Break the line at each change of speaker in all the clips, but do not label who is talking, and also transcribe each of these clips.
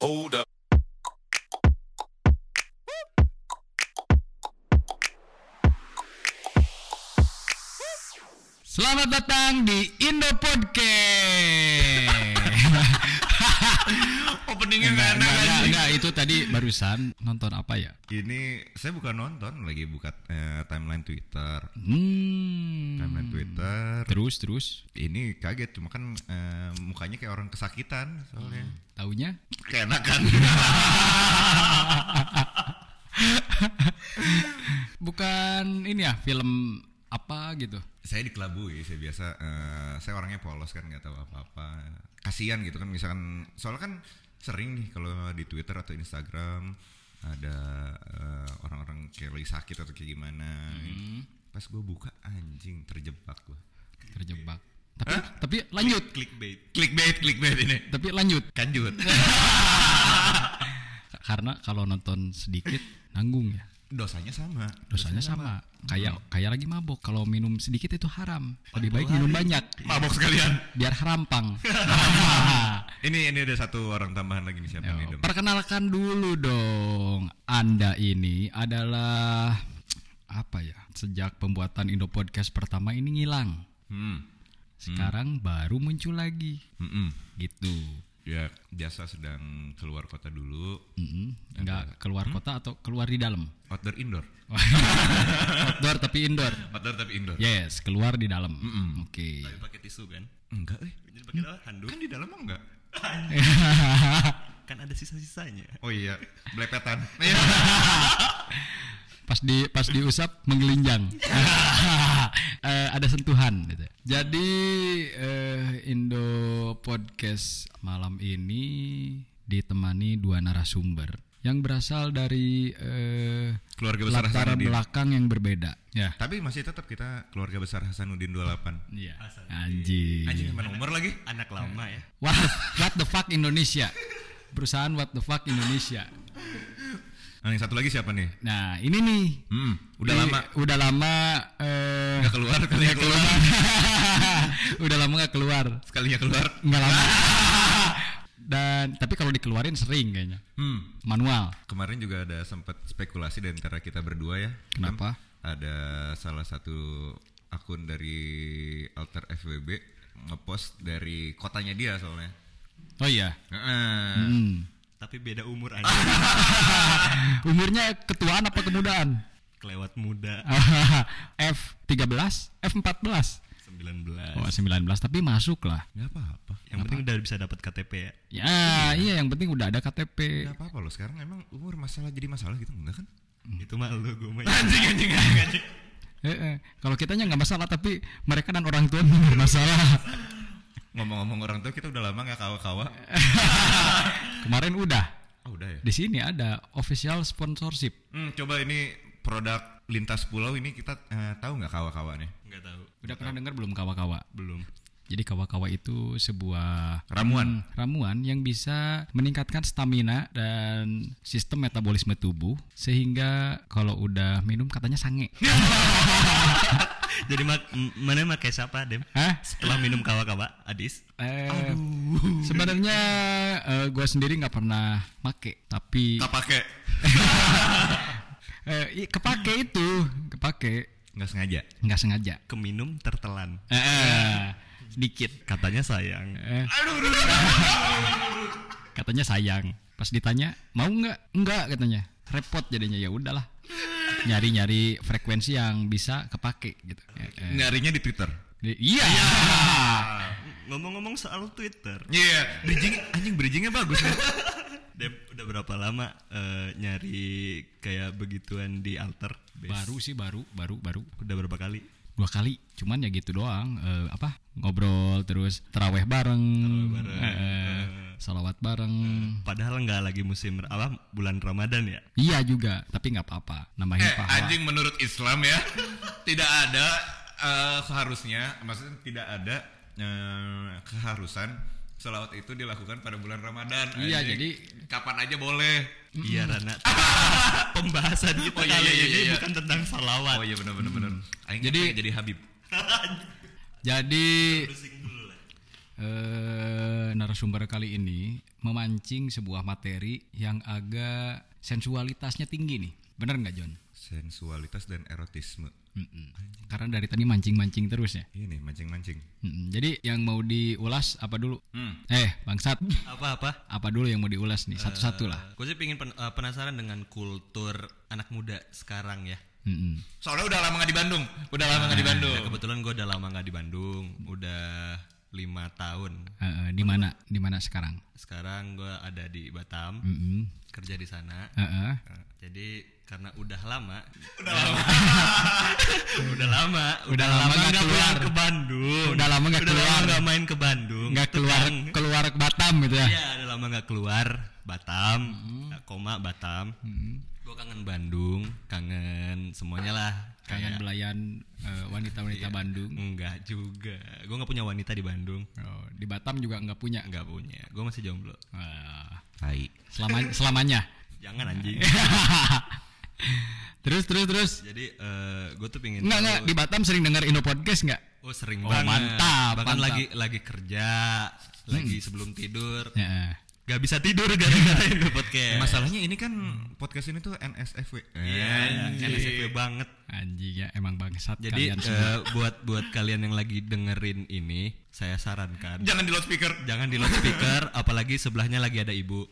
Hold up.
Selamat datang di Indo Podcast.
openingnya
enggak, enggak,
nggak enak
enggak,
anjing.
enggak, itu tadi barusan nonton apa ya?
ini saya bukan nonton lagi buka eh, timeline Twitter
Hmm.
timeline Twitter
Terus terus
ini kaget cuma kan eh, mukanya kayak orang kesakitan soalnya kan?
taunya
keenakan
bukan ini ya film apa gitu.
saya dikelabui saya biasa eh, saya orangnya polos kan nggak tahu apa-apa kasihan gitu kan misalkan soalnya kan sering nih kalau di Twitter atau Instagram ada eh, orang-orang kayak lagi sakit atau kayak gimana pas gue buka anjing terjebak gue
Terjebak. Tapi tapi lanjut.
clickbait clickbait clickbait ini
Tapi lanjut.
kanjut
Karena kalau nonton sedikit nanggung ya.
dosanya sama
Dosanya sama. Kayak kayak lagi mabok. Kalau minum sedikit itu haram. Lebih baik minum banyak.
mabok sekalian
Biar harampang.
ini ini ada satu orang tambahan lagi nih siapa
Yo,
nih Dem?
perkenalkan dulu dong. Anda ini adalah apa ya? Sejak pembuatan Indo Podcast pertama ini ngilang.
hmm
Sekarang baru muncul lagi.
Mm-mm.
Gitu.
ya biasa sedang keluar kota dulu
Mm-mm. Nggak keluar kota atau keluar di dalam?
outdoor indoor
Outdoor tapi indoor.
outdoor tapi indoor
Yes, keluar di dalam. Oke.
Tapi pakai tisu kan?
enggak eh
Jadi pakai apa? handuk.
kan di dalam mah enggak
Kan ada sisa-sisanya.
oh iya belepetan
pas di pas diusap menggelinjang Eh, ada sentuhan gitu. jadi eh, Indo podcast malam ini ditemani dua narasumber yang berasal dari eh,
keluarga besar
latar
Hasanuddin
belakang yang berbeda ya
tapi masih tetap kita keluarga besar Hasanuddin 28
Iya. anjing
Ah, anjing mana umur lagi
Anak
Hmm.
lama ya.
what, what the fuck Indonesia perusahaan what the fuck Indonesia
nah, yang satu lagi siapa nih
nah ini nih
hmm udah
Ini
lama
udah lama eh,
nggak keluar kalinya keluar
udah lama nggak keluar
sekalinya keluar
nggak lama dan tapi kalau dikeluarin sering kayaknya
hmm
manual
Kemarin juga ada sempat spekulasi di antara kita berdua ya.
Kenapa?
Ada salah satu akun dari alter FWB ngepost dari kotanya dia soalnya.
oh iya
Heeh. Ah.
Hmm.
Tapi beda umur aja.
umurnya ketuaan apa kemudaan
Kelewat muda.
F 13 F 14
Eh.
19.
oh 19 tapi masuk lah
Nggak apa-apa.
Yang penting udah bisa dapat KTP ya.
ya iya yang penting udah ada KTP
Nggak apa-apa loh sekarang emang umur masalah jadi masalah gitu enggak kan?
Itu mah lu gue mah. iya.
Eh, eh. kalau kitanya nggak masalah tapi mereka dan orang tua bermasalah
Ngomong-ngomong orang tua kita udah lama nggak kawa-kawa.
Iya.
kemarin udah
Oh udah ya.
di sini ada official sponsorship
Hmm, coba ini produk lintas pulau ini kita eh, tahu nggak kawa-kawa nih?
Enggak tahu.
udah pernah dengar belum kawa-kawa
Belum.
Jadi kawa-kawa itu sebuah Hmm,
Ramuan.
ramuan yang bisa meningkatkan stamina dan sistem metabolisme tubuh sehingga kalau udah minum katanya sange.
Jadi mak- m- mana pakai siapa, Dem?
Hah?
Setelah minum kawa-kawa, Adis.
Eh, sebenarnya gue sendiri nggak pernah make tapi
Nggak pakai.
eh, i- kepake itu kepake
Nggak sengaja.
nggak sengaja
Keminum tertelan.
Eh, eh, sedikit
Katanya sayang.
Eh.
Iya.
katanya sayang pas ditanya mau nggak nggak katanya repot jadinya ya udahlah nyari nyari frekuensi yang bisa kepake gitu Ya, eh.
Nyarinya di Twitter.
Di- iya
Ngomong-ngomong soal Twitter,
Iya, bridging anjing bridgingnya bagus ya.
Dem udah berapa lama eh, nyari kayak begituan di alter? Base?
baru sih baru baru baru
Udah berapa kali?
dua kali cuman ya gitu doang Eh, apa ngobrol terus teraweh bareng, eh, eh, salawat bareng
Padahal nggak lagi musim apa bulan Ramadan ya.
iya juga tapi nggak apa-apa nambahin
Eh,
pahala
anjing menurut Islam ya tidak ada eh, seharusnya maksudnya tidak ada eh, keharusan selawat itu dilakukan pada bulan Ramadan.
Iya,
anjing.
jadi-
kapan aja boleh.
Iya Rana. Pembahasan kita
Oh, iya,
kali
iya,
ini
iya.
bukan tentang salawat.
Oh iya benar benar benar. Aing
Jadi-
pengen jadi Habib.
jadi
Pusing dulu lah.
eh narasumber kali ini memancing sebuah materi yang agak sensualitasnya tinggi nih. Bener nggak John?
Sensualitas dan erotisme.
Mm-mm. Karena dari tadi mancing-mancing terus ya.
Ini nih mancing-mancing.
Mm-mm. Jadi yang mau diulas apa dulu?
Hmm.
Eh bangsat,
Apa-apa?
apa dulu yang mau diulas nih? Satu-satu lah.
Gue sih pingin pen- eh, penasaran dengan kultur anak muda sekarang ya.
Mm-mm.
Soalnya udah lama nggak di Bandung. Udah lama nggak di Bandung.
Ya, kebetulan gue udah lama nggak di Bandung, udah lima tahun.
Eh, eh, di mana? Di mana sekarang?
Sekarang gue ada di Batam,
Mm-mm.
kerja di sana.
Eh, eh.
Eh, Jadi karena udah lama, udah lama, udah lama,
Udah lama nggak
nggak
keluar.
pulang ke Bandung,
Udah lama nggak
Udah
keluar.
nggak main ke Bandung,
Nggak keluar
Tegang.
keluar ke Batam gitu ya?
Iya, udah lama nggak keluar Batam,
Hmm.
nggak koma Batam. Gue kangen Bandung, kangen semuanya lah.
Kangen
Kayak-
belayan eh, wanita-wanita Bandung.
Enggak juga. Gue nggak punya wanita di Bandung.
Oh, di Batam juga nggak punya.
Nggak punya. Gue masih jomblo.
Ah,
Hai.
selama selamanya. Nah.
Jangan anjing.
terus terus terus.
Jadi gue tuh pingin.
Enggak
tahu-
enggak di Batam sering denger Indo Podcast enggak?
Oh sering
Oh,
banget.
mantap,
Bahkan
mantap. Hmm.
lagi lagi kerja, lagi sebelum tidur.
Ya.
Gak bisa tidur gara-gara Indo podcast.
Masalahnya ini kan podcast ini tuh NSFW.
Iya, NSFW banget.
Anjing ya emang bangsat kalian.
Jadi eh, buat buat kalian yang lagi dengerin ini, saya sarankan
Jangan di loudspeaker.
jangan di loudspeaker, apalagi sebelahnya lagi ada ibu.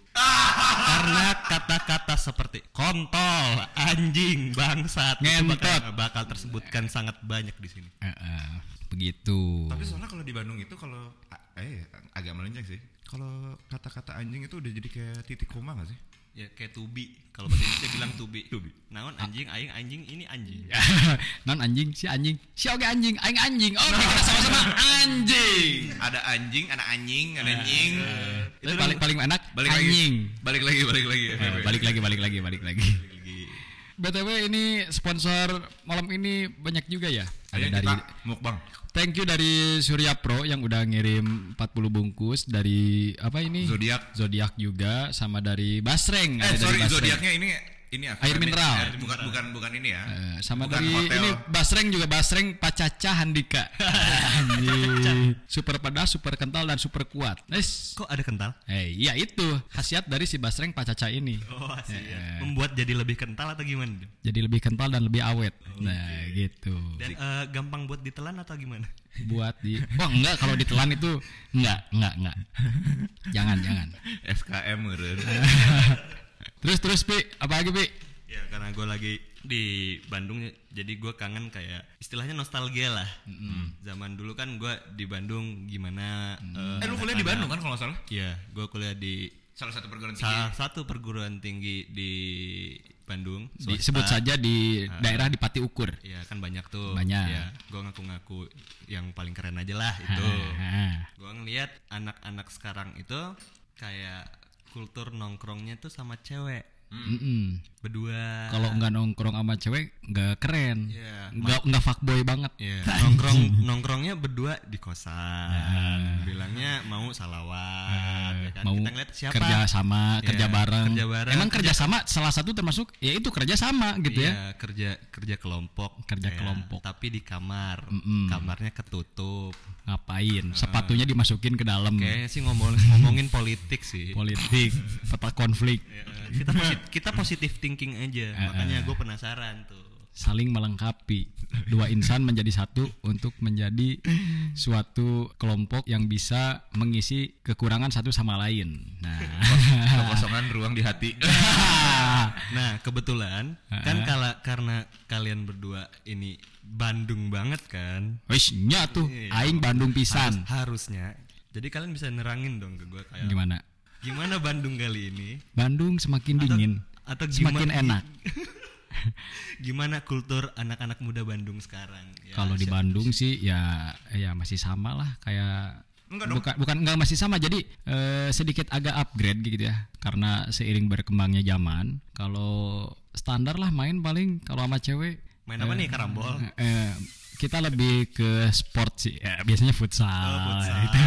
Karena kata-kata seperti kontol, anjing, bangsat, itu bakal, bakal tersebutkan sangat banyak di sini.
Eh, eh, begitu.
Tapi soalnya kalau di Bandung itu kalau a- eh agak melenceng sih. Kalau kata-kata anjing itu udah jadi kayak titik koma gak sih?
Ya kayak tubi, kalau bahasa Indonesia bilang tubi. Tubi. Naon anjing, aing anjing, ini anjing.
non anjing si anjing si oke anjing aing anjing oh kita sama-sama anjing
Ada anjing, ada anjing, ada anjing.
tapi paling paling enak
Balik lagi.
anjing
Balik lagi, Nah, balik lagi.
Eh, balik lagi balik lagi balik lagi btw ini sponsor malam ini banyak juga ya
Ayo
ada
kita
dari
mukbang.
thank you dari Surya Pro yang udah ngirim 40 bungkus dari apa ini
Zodiak.
zodiak juga sama dari Basreng
Eh
ada dari
sorry,
Basreng.
zodiaknya ini ini aku
Air
ini-
mineral.
eh, bukan bukan bukan ini ya.
Eh, sama
bukan
dari
hotel.
ini Basreng juga Basreng Pacaca Handika. Anjing. super pedas, super kental dan super kuat. Nice.
Kok ada kental?
Eh, iya itu khasiat dari si Basreng Pacaca ini.
Oh, asyik. Membuat jadi lebih kental atau gimana?
Jadi lebih kental dan lebih awet. Nah, gitu.
Dan eh, gampang buat ditelan atau gimana?
Buat di Wah, enggak kalau ditelan itu enggak, enggak, enggak. jangan, jangan.
SKM meureun.
Terus terus Pi, apa lagi Pi?
Ya karena gue lagi di Bandung jadi gue kangen kayak istilahnya nostalgia lah. Zaman dulu kan gue di Bandung gimana? eh,
eh lu kuliah di Bandung kan kalau nggak salah?
Iya, gue kuliah di
Salah satu perguruan tinggi.
salah satu perguruan tinggi di Bandung.
Di- sebut saja di
Ah.
daerah di Pati Ukur.
Iya kan banyak tuh.
Banyak.
Ya, gue ngaku-ngaku yang paling keren aja lah itu.
Ah,
gue ngeliat anak-anak sekarang itu kayak kultur nongkrongnya tuh sama cewek Hmm.
mm-mm.
berdua.
Kalau enggak nongkrong sama cewek enggak keren.
Ah. Iya,
Enggak enggak fuckboy banget.
Iya, nongkrong nongkrongnya berdua di kosan. Bilangnya mau salawat, ya kan?
Ah. Eh, mau
Kita ngeliat siapa?
kerja sama
Iya,
kerja bareng
kerja bareng,
emang kerja sama salah satu termasuk ya itu kerja sama gitu
Iya,
ya
kerja kerja kelompok,
Kerja
Iya,
kelompok.
Tapi di kamar,
Mm-mm.
kamarnya ketutup. Ah.
ngapain sepatunya dimasukin ke dalam
Kayaknya sih ngomong ngomongin politik sih.
politik peta konflik
Iya, kita posi- kita positive thinking aja.
Ah,
Makanya gue penasaran tuh.
saling melengkapi dua insan menjadi satu untuk menjadi suatu kelompok yang bisa mengisi kekurangan satu sama lain nah
Kekosongan ruang di hati.
Nah, kebetulan
Ah,
kan kala karena kalian berdua ini Bandung banget kan.
wis nya tuh aing Bandung
Iya, Harus-
pisan
harusnya. Jadi kalian bisa nerangin dong ke gue kayak
gimana
gimana Bandung kali ini
Bandung semakin dingin
atau
semakin
gimana-
enak
gimana kultur anak-anak muda Bandung sekarang ya,
Kalau di Bandung sih ya ya masih sama lah kayak
Enggak dong.
bukan bukan enggak masih sama jadi eh, sedikit agak upgrade gitu ya karena seiring berkembangnya zaman kalau standar lah main paling kalau sama cewek
main apa nih karambol
eh, kita lebih ke sport sih ya, biasanya futsal,
Oh, futsal. Ah.
gitu.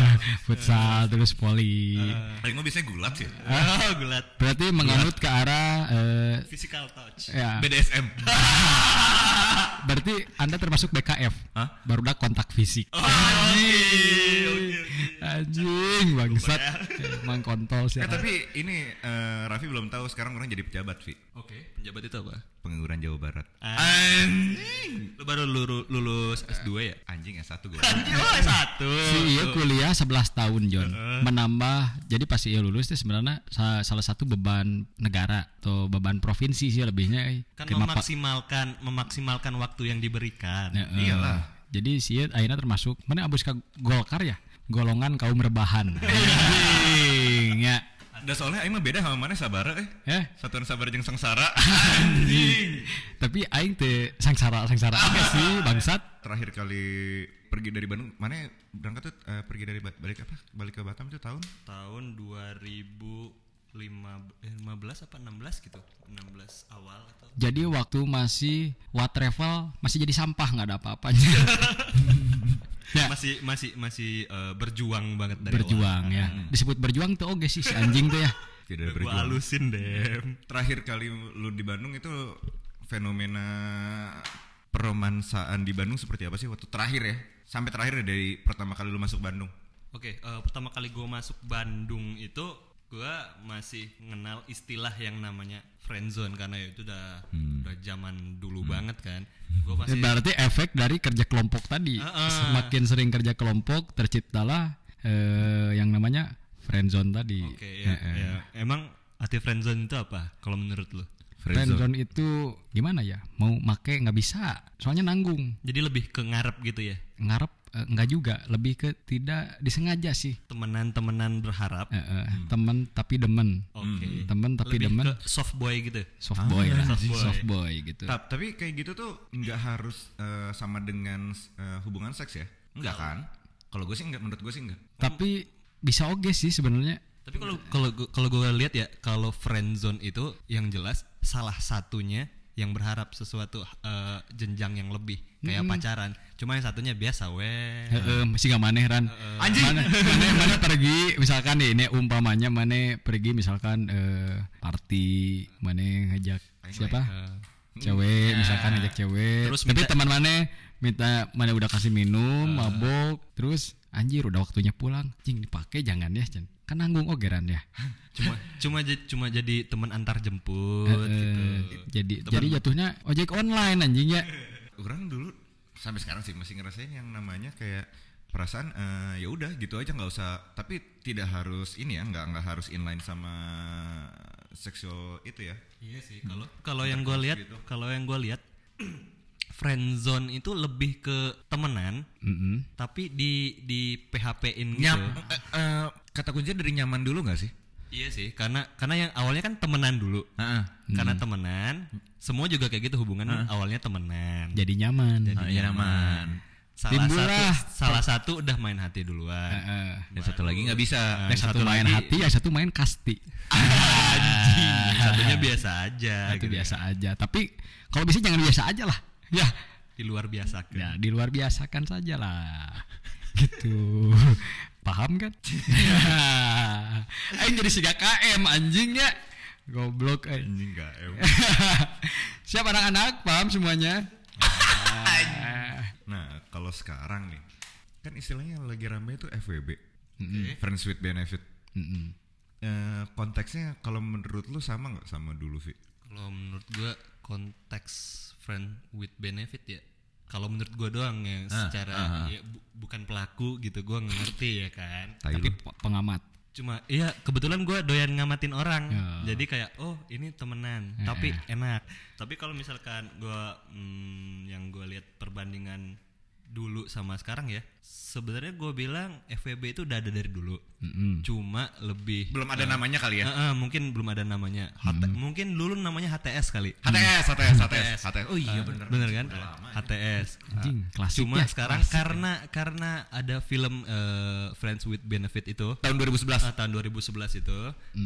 futsal terus volley
Paling gue biasanya gulat sih.
oh gulat
berarti
Iya.
menganut ke arah eh,
physical touch
ya
BDSM.
berarti anda termasuk BKF
Hah?
baru kontak fisik
oh, oke, oke, oke.
Anjir, anjing bangsat. Emang kontol
Iya.
sih.
ya. Eh, tapi ini eh, Raffi belum tahu sekarang orang jadi pejabat, Vi.
Oke, penjabat itu apa?
Pengangguran Jawa Barat.
Anjing. Ah. Lu baru Oh, lulu- lulus S2 ya?
Anjing S1 gue.
Anjing lu S1.
Si iya kuliah 11 tahun John Menambah Jadi pas iya lulus itu sebenarnya sa- Salah satu beban negara Atau beban provinsi sih lebihnya eh.
Kan
Kenapa-
memaksimalkan memaksimalkan waktu yang diberikan.
Ya, eh,
Iyalah.
Jadi si iya akhirnya termasuk Mana abis ke Golkar ya Golongan kaum rebahan
Iya.
Anjing, ya
Ada soalnya aing mah beda sama mana sabara eh.
Eh,
Satuan sabar jeung sengsara.
tapi aing teh sangsara sangsara apa sih bangsat?
Terakhir kali pergi dari Bandung, mana ya? berangkat tuh eh, pergi dari Ba- balik apa? Balik ke Batam tuh tahun
Tahun 2015 eh, 15 apa 16 gitu. 16 awal atau
Jadi waktu masih what travel masih jadi sampah nggak ada apa-apanya. ya,
masih masih masih eh, berjuang banget dari Hmm.
berjuang ya. Disebut berjuang tuh oke sih si anjing tuh ya.
tidak
awal. Gua
berjuang.
halusin deh.
Terakhir kali lu di Bandung itu fenomena peromansaan di Bandung seperti apa sih waktu terakhir ya? Sampai terakhir ya dari pertama kali lu masuk Bandung.
Oke, eh, pertama kali gue masuk Bandung itu gue masih mengenal istilah yang namanya friendzone karena ya itu udah
Hmm.
udah zaman dulu banget kan. Gue
Ya,
masih
Berarti efek dari kerja kelompok tadi.
Heeh.
Semakin sering kerja kelompok terciptalah eh, yang namanya friendzone tadi.
Oke, ya, ya. Emang arti friendzone itu apa? Kalau menurut lo?
Friendzone itu gimana ya? Mau make nggak bisa. Soalnya nanggung.
Jadi lebih ke ngarep gitu ya?
Ngarep eh, nggak juga, lebih ke tidak disengaja sih.
Temenan-temenan berharap.
Eh, eh, Temen tapi demen.
Hmm.
Hmm.
Oke.
Temen tapi
Lebih
demen.
ke soft boy gitu.
soft boy lah
soft boy.
soft boy gitu
Ta- tapi kayak gitu tuh nggak harus eh, sama dengan eh, hubungan seks ya? Enggak kan? Kalau gue sih enggak, menurut gue sih enggak.
tapi bisa oke sih sebenarnya
Tapi kalau kalau gua- kalau gue lihat ya kalau friendzone itu yang jelas salah satunya yang berharap sesuatu eh, jenjang yang lebih kayak pacaran. Cuma yang satunya biasa weh.
Heeh, masih gak maneh ran anjing mana, maneh- maneh pergi misalkan nih ini umpamanya maneh pergi misalkan eh, party maneh ngajak siapa cewek misalkan ngajak cewek
eh. Hmm. Nah. Terus
tapi teman maneh minta maneh udah kasih minum mabok terus anjir udah waktunya pulang anjing dipakai jangan ya Jan. kan nanggung ogeran ya
Cuma cuma jadi cuma jadi teman antar jemput gitu.
Eh, jadi jadi jatuhnya ojek online anjing ya
orang dulu sampai sekarang sih masih ngerasain yang namanya kayak perasaan eh, ya udah gitu aja nggak usah tapi tidak harus ini ya nggak nggak harus inline sama seksual itu ya
Iya sih kalau kalau yang gue lihat kalau yang gue lihat friendzone itu lebih ke temenan
Mm-mm.
tapi di di PHP-in gitu.
Eh, eh, kata kunci dari nyaman dulu nggak sih
Iya sih, karena karena yang awalnya kan temenan dulu.
Heeh.
Karena
Hmm.
temenan, semua juga kayak gitu hubungan awalnya temenan.
jadi nyaman
ya nyaman
Salah satu
timbullah.
salah satu udah main hati duluan.
Heeh.
dan satu lagi nggak bisa
yang satu, main hati, yang satu main kasti.
Anjing, satunya biasa aja
itu
gitu.
biasa aja. Tapi kalau bisa jangan biasa aja lah. Ya,
Di luar biasa kan.
ya di luar biasakan saja lah. gitu. Paham kan? Aing jadi 3 KM anjing ya. Goblok aing.
anjing nggak em.
Siap anak-anak paham semuanya?
nah kalau sekarang nih kan istilahnya lagi rame itu FWB friends with benefit
Mm-mm.
Eh, konteksnya kalau menurut lu sama nggak sama dulu Vi?
Kalau menurut gua konteks friend with benefit ya. Kalau menurut gua doang ya secara ya, bu- bukan pelaku gitu gua nggak ngerti ya kan.
Tai
Tapi
lu.
pe- pengamat.
cuma iya kebetulan gue doyan ngamatin orang
Ya.
jadi kayak oh ini temenan tapi enak tapi kalau misalkan gue yang gue lihat perbandingan dulu sama sekarang ya sebenarnya gue bilang FWB itu udah ada dari dulu
Mm-mm.
cuma lebih
belum ada namanya kali ya
Eh, eh, mungkin belum ada namanya HT mungkin dulu namanya HTS kali
HTS, HTS, HTS, HTS. Oh iya bener.
bener kan HTS
Anjing, klasik
cuma
ya.
sekarang karena karena ada film eh, Friends with Benefit itu
Tahun 2011.
Ah, tahun 2011 itu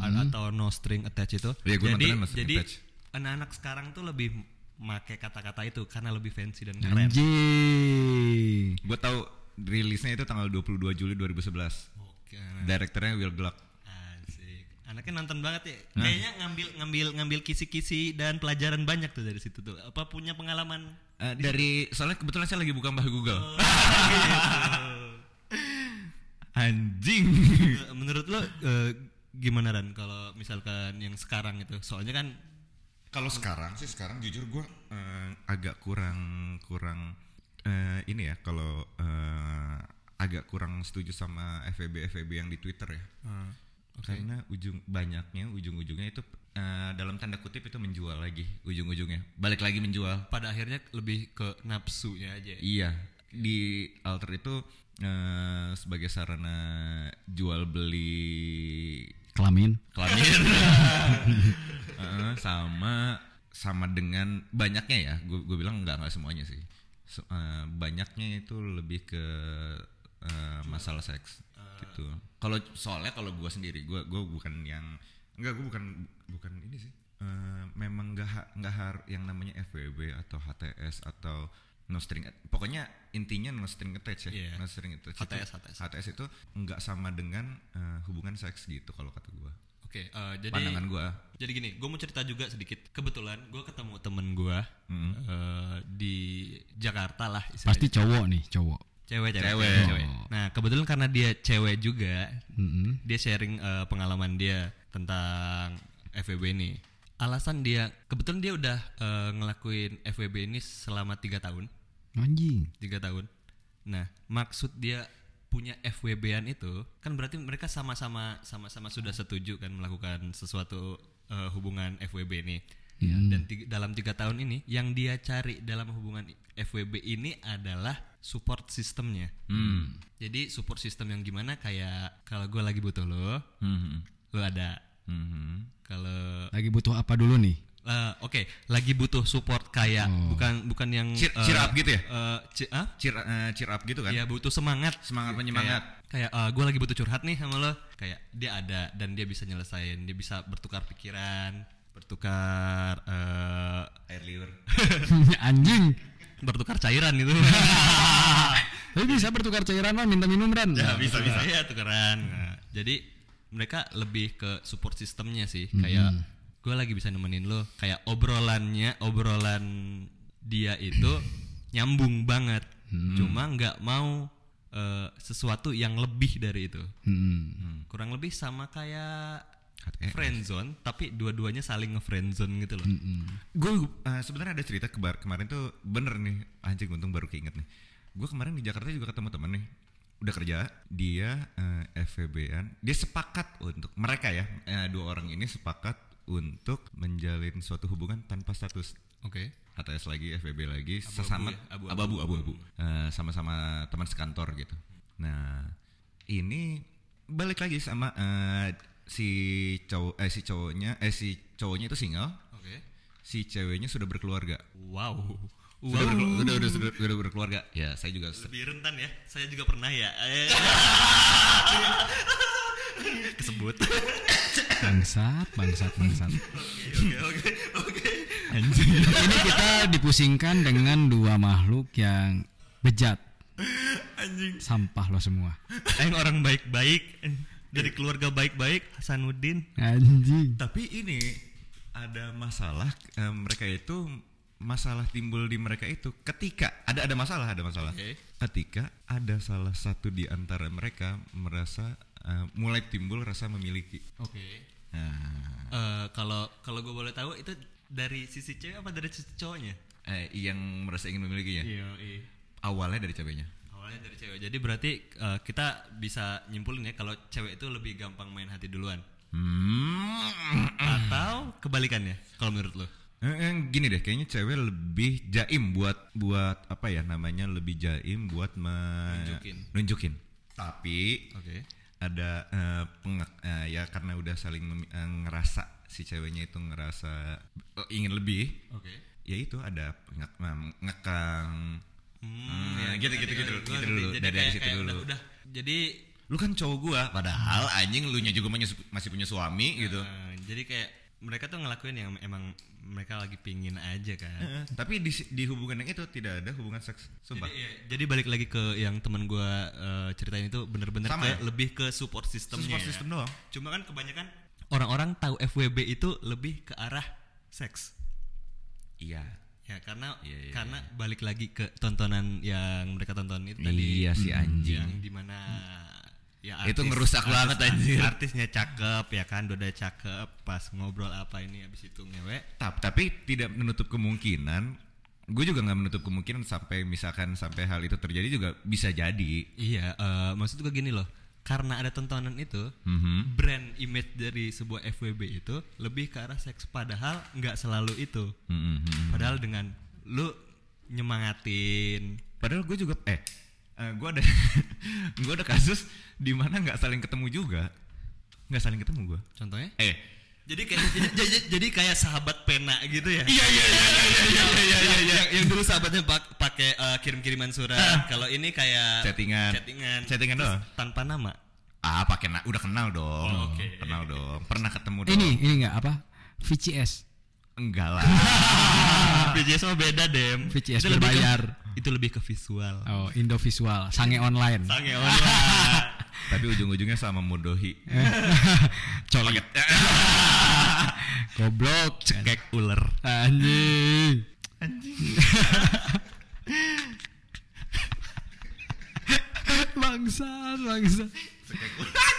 a- atau no string attached itu.
Mhm. Iya, gua
jadi
nontonnya no string
jadi
attached.
anak-anak sekarang tuh lebih make kata-kata itu karena lebih fancy dan keren.
Anjing.
Gue tahu rilisnya itu tanggal 22 Juli 2011.
Oke.
Hmm. Direkturnya Will Gluck.
Asik. Anaknya nonton banget ya.
Nah.
Kayaknya ngambil ngambil ngambil kisi-kisi dan pelajaran banyak tuh dari situ tuh. Apa punya pengalaman?
Eh, dari soalnya kebetulan saya lagi buka mbah Google.
Gitu.
Oh. Anjing.
Eh, gimana Ran kalau misalkan yang sekarang itu soalnya kan
Kalau sekarang sih sekarang jujur gue agak kurang kurang eh, ini ya kalau eh, agak kurang setuju sama FEB FEB yang di Twitter ya. Karena ujung banyaknya ujung-ujungnya itu eh, dalam tanda kutip itu menjual lagi ujung-ujungnya balik lagi menjual.
pada akhirnya lebih ke nafsunya aja
Iya di alter itu eh, sebagai sarana jual beli
Kelamin.
kelamin Heeh, sama sama dengan banyaknya ya gue bilang nggak nggak semuanya sih So- eh, banyaknya itu lebih ke eh, masalah seks gitu kalau soalnya kalau gue sendiri gue gue bukan yang nggak gue bukan bukan ini sih Eh, memang nggak ha- nggak har- yang namanya FWB atau HTS atau no string at- pokoknya intinya no string attached ya
Iya.
no string attached itu-
HTS, HTS.
HTS itu nggak sama dengan eh, hubungan seks gitu kalau kata gue
oke eh, jadi
pandangan gue
jadi gini gue mau cerita juga sedikit kebetulan gue ketemu temen gue eh, di Jakarta lah istilahnya.
Pasti cowok nih, cowok.
cewek cewek
Cewek.
cewek. nah kebetulan karena dia cewek juga
Mm-mm.
dia sharing eh, pengalaman dia tentang FWB ini alasan dia kebetulan dia udah eh, ngelakuin FWB ini selama tiga tahun
Anjing.
tiga tahun nah maksud dia punya FWB-an itu kan berarti mereka sama-sama sama-sama sudah setuju kan melakukan sesuatu eh, hubungan FWB ini
Iya.
dan tiga- dalam tiga tahun ini yang dia cari dalam hubungan FWB ini adalah support sistemnya
Hmm.
jadi support sistem yang gimana kayak kalau gue lagi butuh lo,
Hmm.
lo ada.
Hmm.
Kalau
Lagi butuh apa dulu nih?
eh, oke, lagi butuh support kayak bukan bukan yang
Cheer-
eh,
cheer up Oh. gitu ya?
eh, ci- ah?
Cheer, eh, cheer up gitu kan?
Ya butuh semangat.
Semangat penyemangat.
Kayak, kayak gue lagi butuh curhat nih sama lo. Kayak dia ada dan dia bisa nyelesain, dia bisa bertukar pikiran, bertukar eh,
Air liur.
Anjing.
bertukar cairan gitu.
Tapi bisa bertukar cairan mah minta minum Ran.
bisa bisa ya tukeran Nah, jadi mereka lebih ke support sistemnya sih kayak gue lagi bisa nemenin lo kayak obrolannya obrolan dia itu nyambung banget cuma nggak mau eh, sesuatu yang lebih dari itu
Hmm.
kurang lebih sama kayak
HTS.
friendzone tapi dua-duanya saling nge-friendzone gitu loh
Gue Eh, sebenarnya ada cerita kebar kemarin tuh bener nih anjing untung baru keinget nih. Gue kemarin di Jakarta juga ketemu temen nih udah kerja dia eh, FVB-an dia sepakat untuk mereka ya eh, dua orang ini sepakat untuk menjalin suatu hubungan tanpa status
oke
HTS lagi, FBB lagi, sesama
ya, abu-abu.
abu-abu, abu-abu, Eh, sama-sama teman sekantor gitu. Nah, ini balik lagi sama eh, si cowok, eh si cowoknya, eh si cowoknya itu single,
oke
si ceweknya sudah berkeluarga.
wow
Sudah,
Wow.
berkelu- sudah, sudah, sudah- sudah berkeluarga. Ya, saya juga se-
lebih rentan ya saya juga pernah ya Eh. kesebut
Bangsat, bangsat, bangsat.
oke oke oke
Ini kita dipusingkan dengan dua makhluk yang bejat.
anjing
Sampah lo semua.
yang orang baik-baik dari keluarga baik-baik Hasanuddin
Anjing.
Tapi ini ada masalah eh, mereka itu masalah timbul di mereka itu ketika ada ada masalah ada masalah
Oke.
ketika ada salah satu di antara mereka merasa eh, mulai timbul rasa memiliki.
oke Eh,
Nah,
kalau kalau gue boleh tahu itu dari sisi cewek apa dari sisi cowoknya
eh, yang merasa ingin memilikinya
iya
awalnya dari cabenya.
awalnya dari cewek jadi berarti eh, kita bisa nyimpulin ya kalau cewek itu lebih gampang main hati duluan
Hmm.
atau kebalikannya kalau menurut lo
Eh, eh, gini deh, kayaknya cewek lebih jaim buat buat apa ya namanya lebih jaim buat me-
Nunjukin.
nunjukin. Tapi
oke
ada eh, pengak- eh, ya karena udah saling memi- eh, ngerasa si ceweknya itu ngerasa eh, ingin lebih
oke
ya itu ada pengak- mem- ngekang Hmm, ya, gitu, gitu, gitu,
Gua
gitu
ngerti.
dulu,
Jadi
dari- dari
kayak-
situ
kayak
dulu.
Udah, udah. Jadi
lu kan cowok gua padahal anjing lu juga punya su- masih punya suami gitu
eh, jadi kayak mereka tuh ngelakuin yang emang mereka lagi pingin aja kan.
Eh, tapi di, si- di hubungan yang itu tidak ada hubungan seks sumpah
Jadi, ya, jadi balik lagi ke yang teman gua eh, ceritain itu bener-bener
Sama
kayak
ya?
lebih ke support
Itu
sistemnya.
support
ya.
system doang
Cuma kan kebanyakan orang-orang tahu FWB itu lebih ke arah seks.
iya
Ya karena
Iya, iya,
karena balik lagi ke tontonan yang mereka tonton itu tadi
Iya, si anjing.
yang dimana ya
Itu ngerusak banget, anjir.
artisnya cakep ya kan Doda cakep pas ngobrol apa ini habis itu ngewe
Ta- tapi tidak menutup kemungkinan gue juga nggak menutup kemungkinan sampai misalkan sampai hal itu terjadi juga bisa jadi
iya eh, maksud gue gini loh karena ada tontonan itu
Mhm.
brand image dari sebuah FWB itu lebih ke arah seks padahal nggak selalu itu
Mhm, mhm.
padahal dengan lu nyemangatin
padahal gue juga eh eh, gue ada gue ada kasus di mana nggak saling ketemu juga nggak saling ketemu gue
contohnya
eh
jadi kayak jadi, jadi- jadi kayak sahabat pena gitu ya
iya iya iya iya iya iya iya iya Ah.
yang, yang dulu sahabatnya pak- pakai eh, kirim-kiriman surat. Kalau ini kayak
Chattingan.
Chattingan.
Chattingan
Terus
doang?
Tanpa nama.
ah pakai na- udah kenal dong
Oh, oke.
kenal dong pernah ketemu dong
Ini ini enggak apa? VCS.
enggak lah Ah.
VJS mah beda, Dem.
VJS
Itu lebih ke-
berbayar.
itu lebih ke visual.
Oh, Indovisual, sange online.
Sange online.
tapi ujung-ujungnya sama modohi
Colok. Goblok, cekek ular. Anjing. bangsat, bangsat.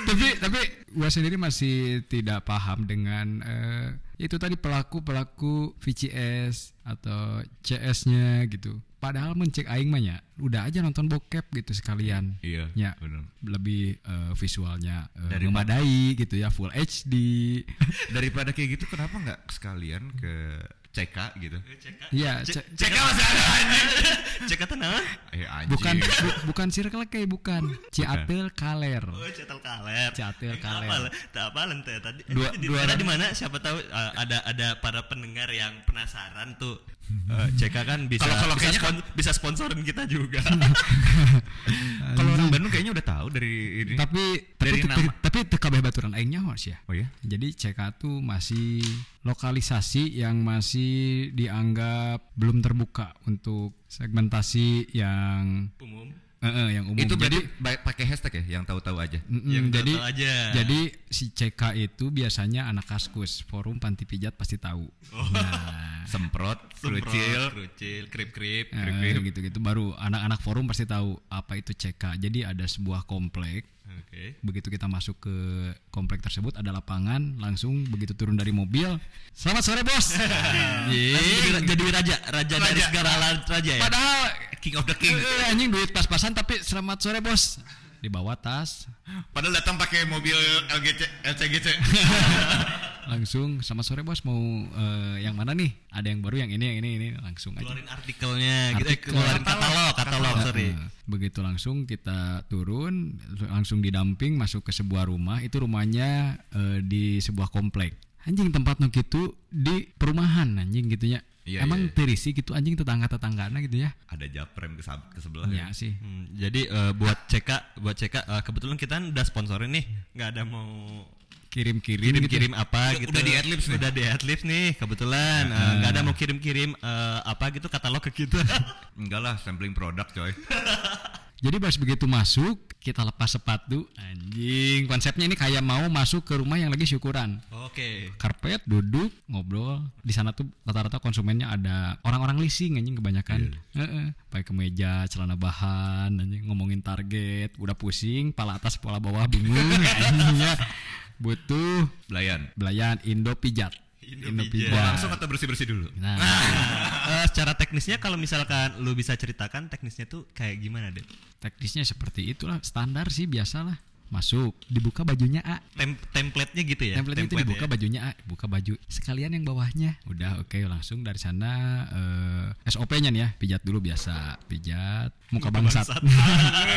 tapi tapi gua sendiri masih tidak paham dengan eh, itu tadi pelaku-pelaku VCS atau CS-nya gitu. Padahal mencek aing mah ya, udah aja nonton bokep gitu sekalian.
iya
Ya
bener.
lebih eh, visualnya eh,
Dari-
memadai gitu ya full HD
daripada kayak gitu kenapa nggak sekalian ke CK gitu
ya
Cek-
ce-
Cek masih ada Cek kata nama.
eh anjing
bukan bu- bukan circle K bukan Ciatel Kaler
Oh, cetel kaler.
Cetel
Eh,
kaler.
apa, tak apa lente tadi. Eh,
Dua-
di,
dua
daerah
orang.
di mana siapa tahu eh, ada ada para pendengar yang penasaran tuh. Eh, CK kan bisa
Kalau- kalau
bisa,
kayaknya
spon- bisa sponsorin kita juga.
kalau orang Bandung kayaknya udah tahu dari ini
tapi tapi
Dari
te-
nama.
tapi teu kabeh baturan aing nyaho sih ya
oh ya
jadi CK tuh masih lokalisasi yang masih dianggap belum terbuka untuk segmentasi yang
Umum.
eh, eh, yang umum
itu
jadi Hmm.
berarti ba- pakai hashtag ya yang tahu-tahu aja
Mm-mm,
Yang
jadi
total aja.
jadi si CK itu biasanya anak kaskus forum panti pijat pasti tahu nah,
Oh. semprot
Krucil,
kerucil
krucil, krip-krip.
eh, gitu-gitu baru anak-anak forum pasti tahu apa itu CK jadi ada sebuah komplek
Oke.
begitu kita masuk ke komplek tersebut ada lapangan langsung begitu turun dari mobil selamat sore bos
Iya. Jadi,
Anjing.
jadi raja, raja, dari segala la- raja ya.
padahal
king of the
eh, eh, anjing duit pas-pasan tapi selamat sore bos di bawah tas
padahal datang pakai mobil LGC LCGC
langsung selamat sore bos mau eh, yang mana nih ada yang baru yang ini yang ini ini langsung aja
Keluarin artikelnya, gitu, eh,
Artikel.
keluarin katalog, katalog, sorry.
Nah, begitu langsung kita turun langsung didamping masuk ke sebuah rumah itu rumahnya eh, di sebuah komplek anjing tempat nu gitu di perumahan anjing gitunya
Iya,
emang
iya, iya.
terisi gitu anjing tetangga tetanggana gitu ya
ada japrem ke, sab- ke sebelah
ya sih
Hmm, jadi eh, buat CK, buat CK eh, kebetulan kita udah sponsorin nih, nggak ada mau
kirim kirim
kirim-kirim apa gitu.
udah di adlibs nih.
Udah di adlibs nih, kebetulan eh, nggak ada mau kirim-kirim eh, apa gitu katalog ke kita.
enggak lah sampling produk coy
jadi pas begitu masuk kita lepas sepatu anjing konsepnya ini kayak mau masuk ke rumah yang lagi syukuran
Oke.
karpet duduk ngobrol di sana tuh rata-rata konsumennya ada orang-orang leasing anjing kebanyakan Heeh. pakai kemeja celana bahan anjing ngomongin target udah pusing pala atas pala bawah bingung anjing ya. butuh
belayan
belayan indo pijat
Indo
Iya.
langsung atau bersih bersih dulu
nah
Eh, secara teknisnya kalau misalkan lu bisa ceritakan teknisnya tuh kayak gimana deh?
teknisnya seperti itulah standar sih biasalah masuk dibuka bajunya A
Tem- template-nya gitu ya.
Iya, template, itu dibuka bajunya ah, buka baju sekalian yang bawahnya udah oke langsung dari sana eh, SOP-nya nih ya pijat dulu biasa pijat
Gitu,
muka bangsat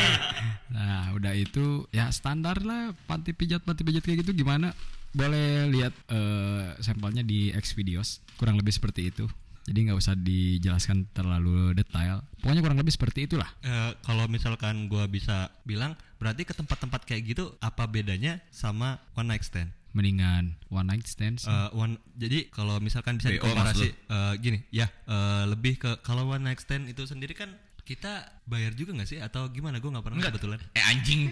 nah udah itu ya standar lah panti pijat panti pijat kayak gitu gimana boleh lihat eh, sampelnya di X videos kurang lebih seperti itu jadi nggak usah dijelaskan terlalu detail pokoknya kurang lebih seperti itulah
Eh, kalau misalkan gua bisa bilang berarti ke tempat-tempat kayak gitu apa bedanya sama one night stand?
mendingan one night stand sih.
Eh, one jadi kalau misalkan bisa
BO
dikomparasi eh, gini ya eh, lebih ke kalau one night stand itu sendiri kan kita bayar juga nggak sih atau gimana gua nggak pernah kebetulan.
eh anjing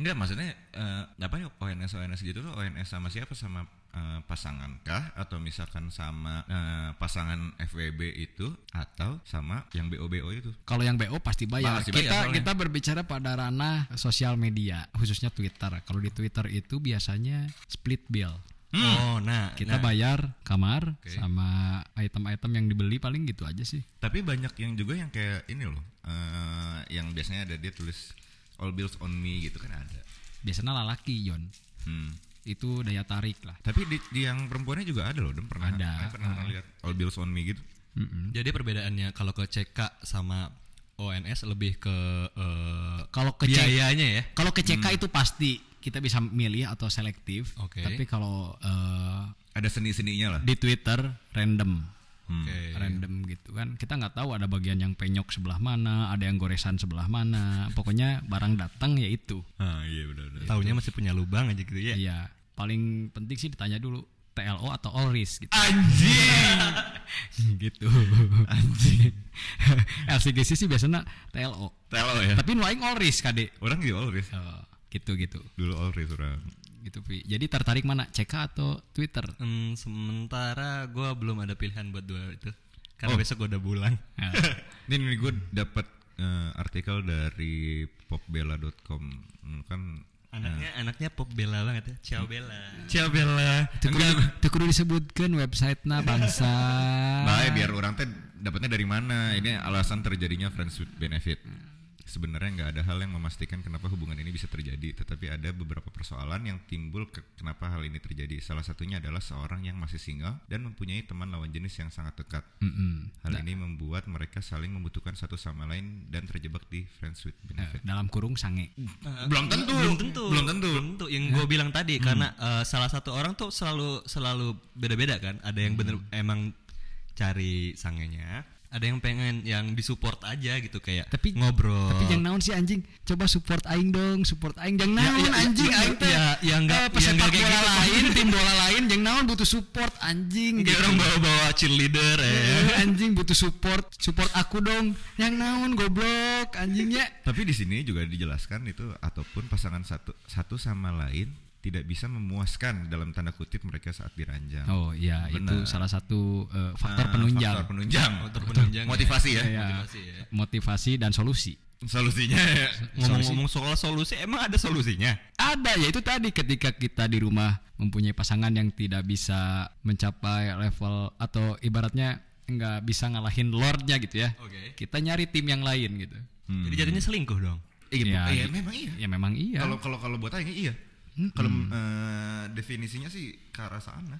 enggak maksudnya eh, apa ya ONS ONS gitu tuh ONS sama siapa sama eh, pasangan kah atau misalkan sama eh, pasangan FWB itu atau sama yang BOBO itu?
Kalau yang BO pasti bayar.
Pasti
kita
bayar soalnya.
kita berbicara pada ranah sosial media, khususnya Twitter. Kalau di Twitter itu biasanya split bill.
Oh, nah
Kita
nah.
bayar kamar
Oke.
sama item-item yang dibeli paling gitu aja sih.
Tapi banyak yang juga yang kayak ini loh, eh, yang biasanya ada dia tulis all bills on me gitu kan ada.
Biasanya lelaki, Yon.
Hmm.
Itu daya tarik lah.
Tapi di, di yang perempuannya juga ada loh, Dem. pernah
Ada.
saya pernah, pernah lihat all bills on me gitu.
Mm-mm.
nah, Jadi perbedaannya kalau ke CK sama ONS lebih ke eh,
Kalau
Iya,
ke C-
biayanya ya.
kalau ke
Hmm.
CK itu pasti kita bisa milih atau selektif.
Oke.
Tapi kalau eh,
Ada seni-seninya lah.
di Twitter random.
Hmm.
Oke.
random gitu kan kita nggak tahu ada bagian yang penyok sebelah mana ada yang goresan sebelah mana pokoknya barang datang ya itu
Ah iya benar-benar.
Tahunya masih punya lubang aja gitu ya.
iya paling penting sih ditanya dulu TLO atau all risk gitu
Anjing.
gitu LCGC sih biasanya TLO
Telo ya.
tapi nu aing all risk kade
Orang gitu all risk.
Eh, gitu gitu
Dulu all risk orang.
gitu Pi. jadi tertarik mana CK atau Twitter
Hmm, sementara gua belum ada pilihan buat dua itu. Karena besok gua udah pulang.
Nah,
Ini, ini gue dapat eh, artikel dari popbella.com Hmm, kan
Anaknya anaknya pop bela banget ya. Ciao bela.
Ciao Bella.
teu kudu- teu kudu disebutkan website na bangsa
Baik, biar orang teh dapatnya dari mana? Ini alasan terjadinya friends with benefit. Sebenarnya nggak ada hal yang memastikan kenapa hubungan ini bisa terjadi, tetapi ada beberapa persoalan yang timbul ke- kenapa hal ini terjadi. Salah satunya adalah seorang yang masih single dan mempunyai teman lawan jenis yang sangat dekat.
Mm-mm.
Hal ini membuat mereka saling membutuhkan satu sama lain dan terjebak di friends with
Eh,
benefit.
dalam kurung sange
Belum tentu.
belum tentu
Belum tentu.
Belum yang gue bilang tadi
Hmm.
karena eh, salah satu orang tuh selalu selalu beda-beda kan ada yang bener
Hmm.
emang cari sangenya ada yang pengen yang disupport aja gitu kayak
Tapi-
ngobrol
Tapi jangan naon sih anjing, coba support aing dong, support aing jangan
Ya,
naon
ya,
anjing
ya,
aing teh.
ya, ya, enggak-
Eh,
ya,
pesepak
enggak kayak
bola
gitu.
lain, tim bola lain jangan naon butuh support anjing.
Kayak
gitu.
orang bawa-bawa cheerleader ya
Eh, anjing butuh support, support aku dong. Yang naon goblok ya. anjingnya.
Tapi di sini juga dijelaskan itu ataupun pasangan satu satu sama lain tidak bisa memuaskan dalam tanda kutip mereka saat diranjang.
Oh iya,
Benar.
itu salah satu eh, faktor
Nah,
penunjang.
faktor penunjang.
Faktor penunjang ya.
Motivasi ya.
Iya.
Motivasi ya.
Motivasi dan solusi.
Solusinya ya.
ngomong-ngomong soal solusi emang ada solusinya
Ada ya itu tadi ketika kita di rumah mempunyai pasangan yang tidak bisa mencapai level atau ibaratnya nggak bisa ngalahin lordnya gitu ya.
Oke.
Kita nyari tim yang lain gitu.
jadi jadinya selingkuh dong
Ya, i-
Iya, memang iya.
ya memang iya.
Kalau kalau kalau buat Aing iya. Kalau
Hmm.
eh, definisinya sih ke arah sana.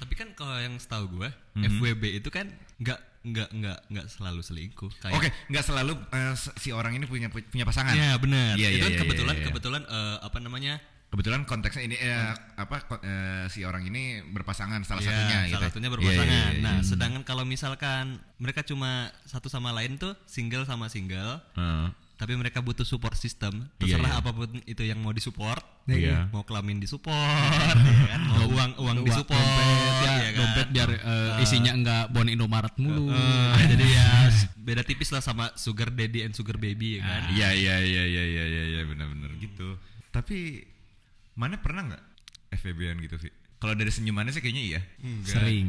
tapi kan kalau yang setahu gue
Mhm.
FWB itu kan nggak nggak nggak nggak selalu selingkuh kayak
Oke, nggak selalu eh, s- si orang ini punya punya pasangan.
Iya benar.
Iya,
itu
iya,
kan
iya,
kebetulan
iya, iya.
kebetulan eh, apa namanya?
Kebetulan konteksnya ini eh, apa ko- eh, si orang ini berpasangan salah
Hmm. Iya,
satunya
salah
gitu.
satunya
Iya,
berpasangan.
iya, iya, iya.
Nah, sedangkan kalau misalkan mereka cuma satu sama lain tuh single sama single,
Heeh.
tapi mereka butuh support system.
Iya,
Terserah
iya.
apapun itu yang mau disupport, ya kan?
Iya.
mau kelamin disupport, ya kan? mau uang uang
Dua-
disupport,
dompet, ya,
iya
ya kan?
dompet biar eh,
Nah.
isinya enggak bon Indomaret mulu.
Eh, jadi ya beda tipis lah sama sugar daddy and sugar baby ya kan.
Iya iya iya iya iya iya iya benar-benar gitu. Tapi mana pernah nggak FBB-an gitu, Vi? Kalau dari senyumannya sih kayaknya iya.
Hmm. Sering.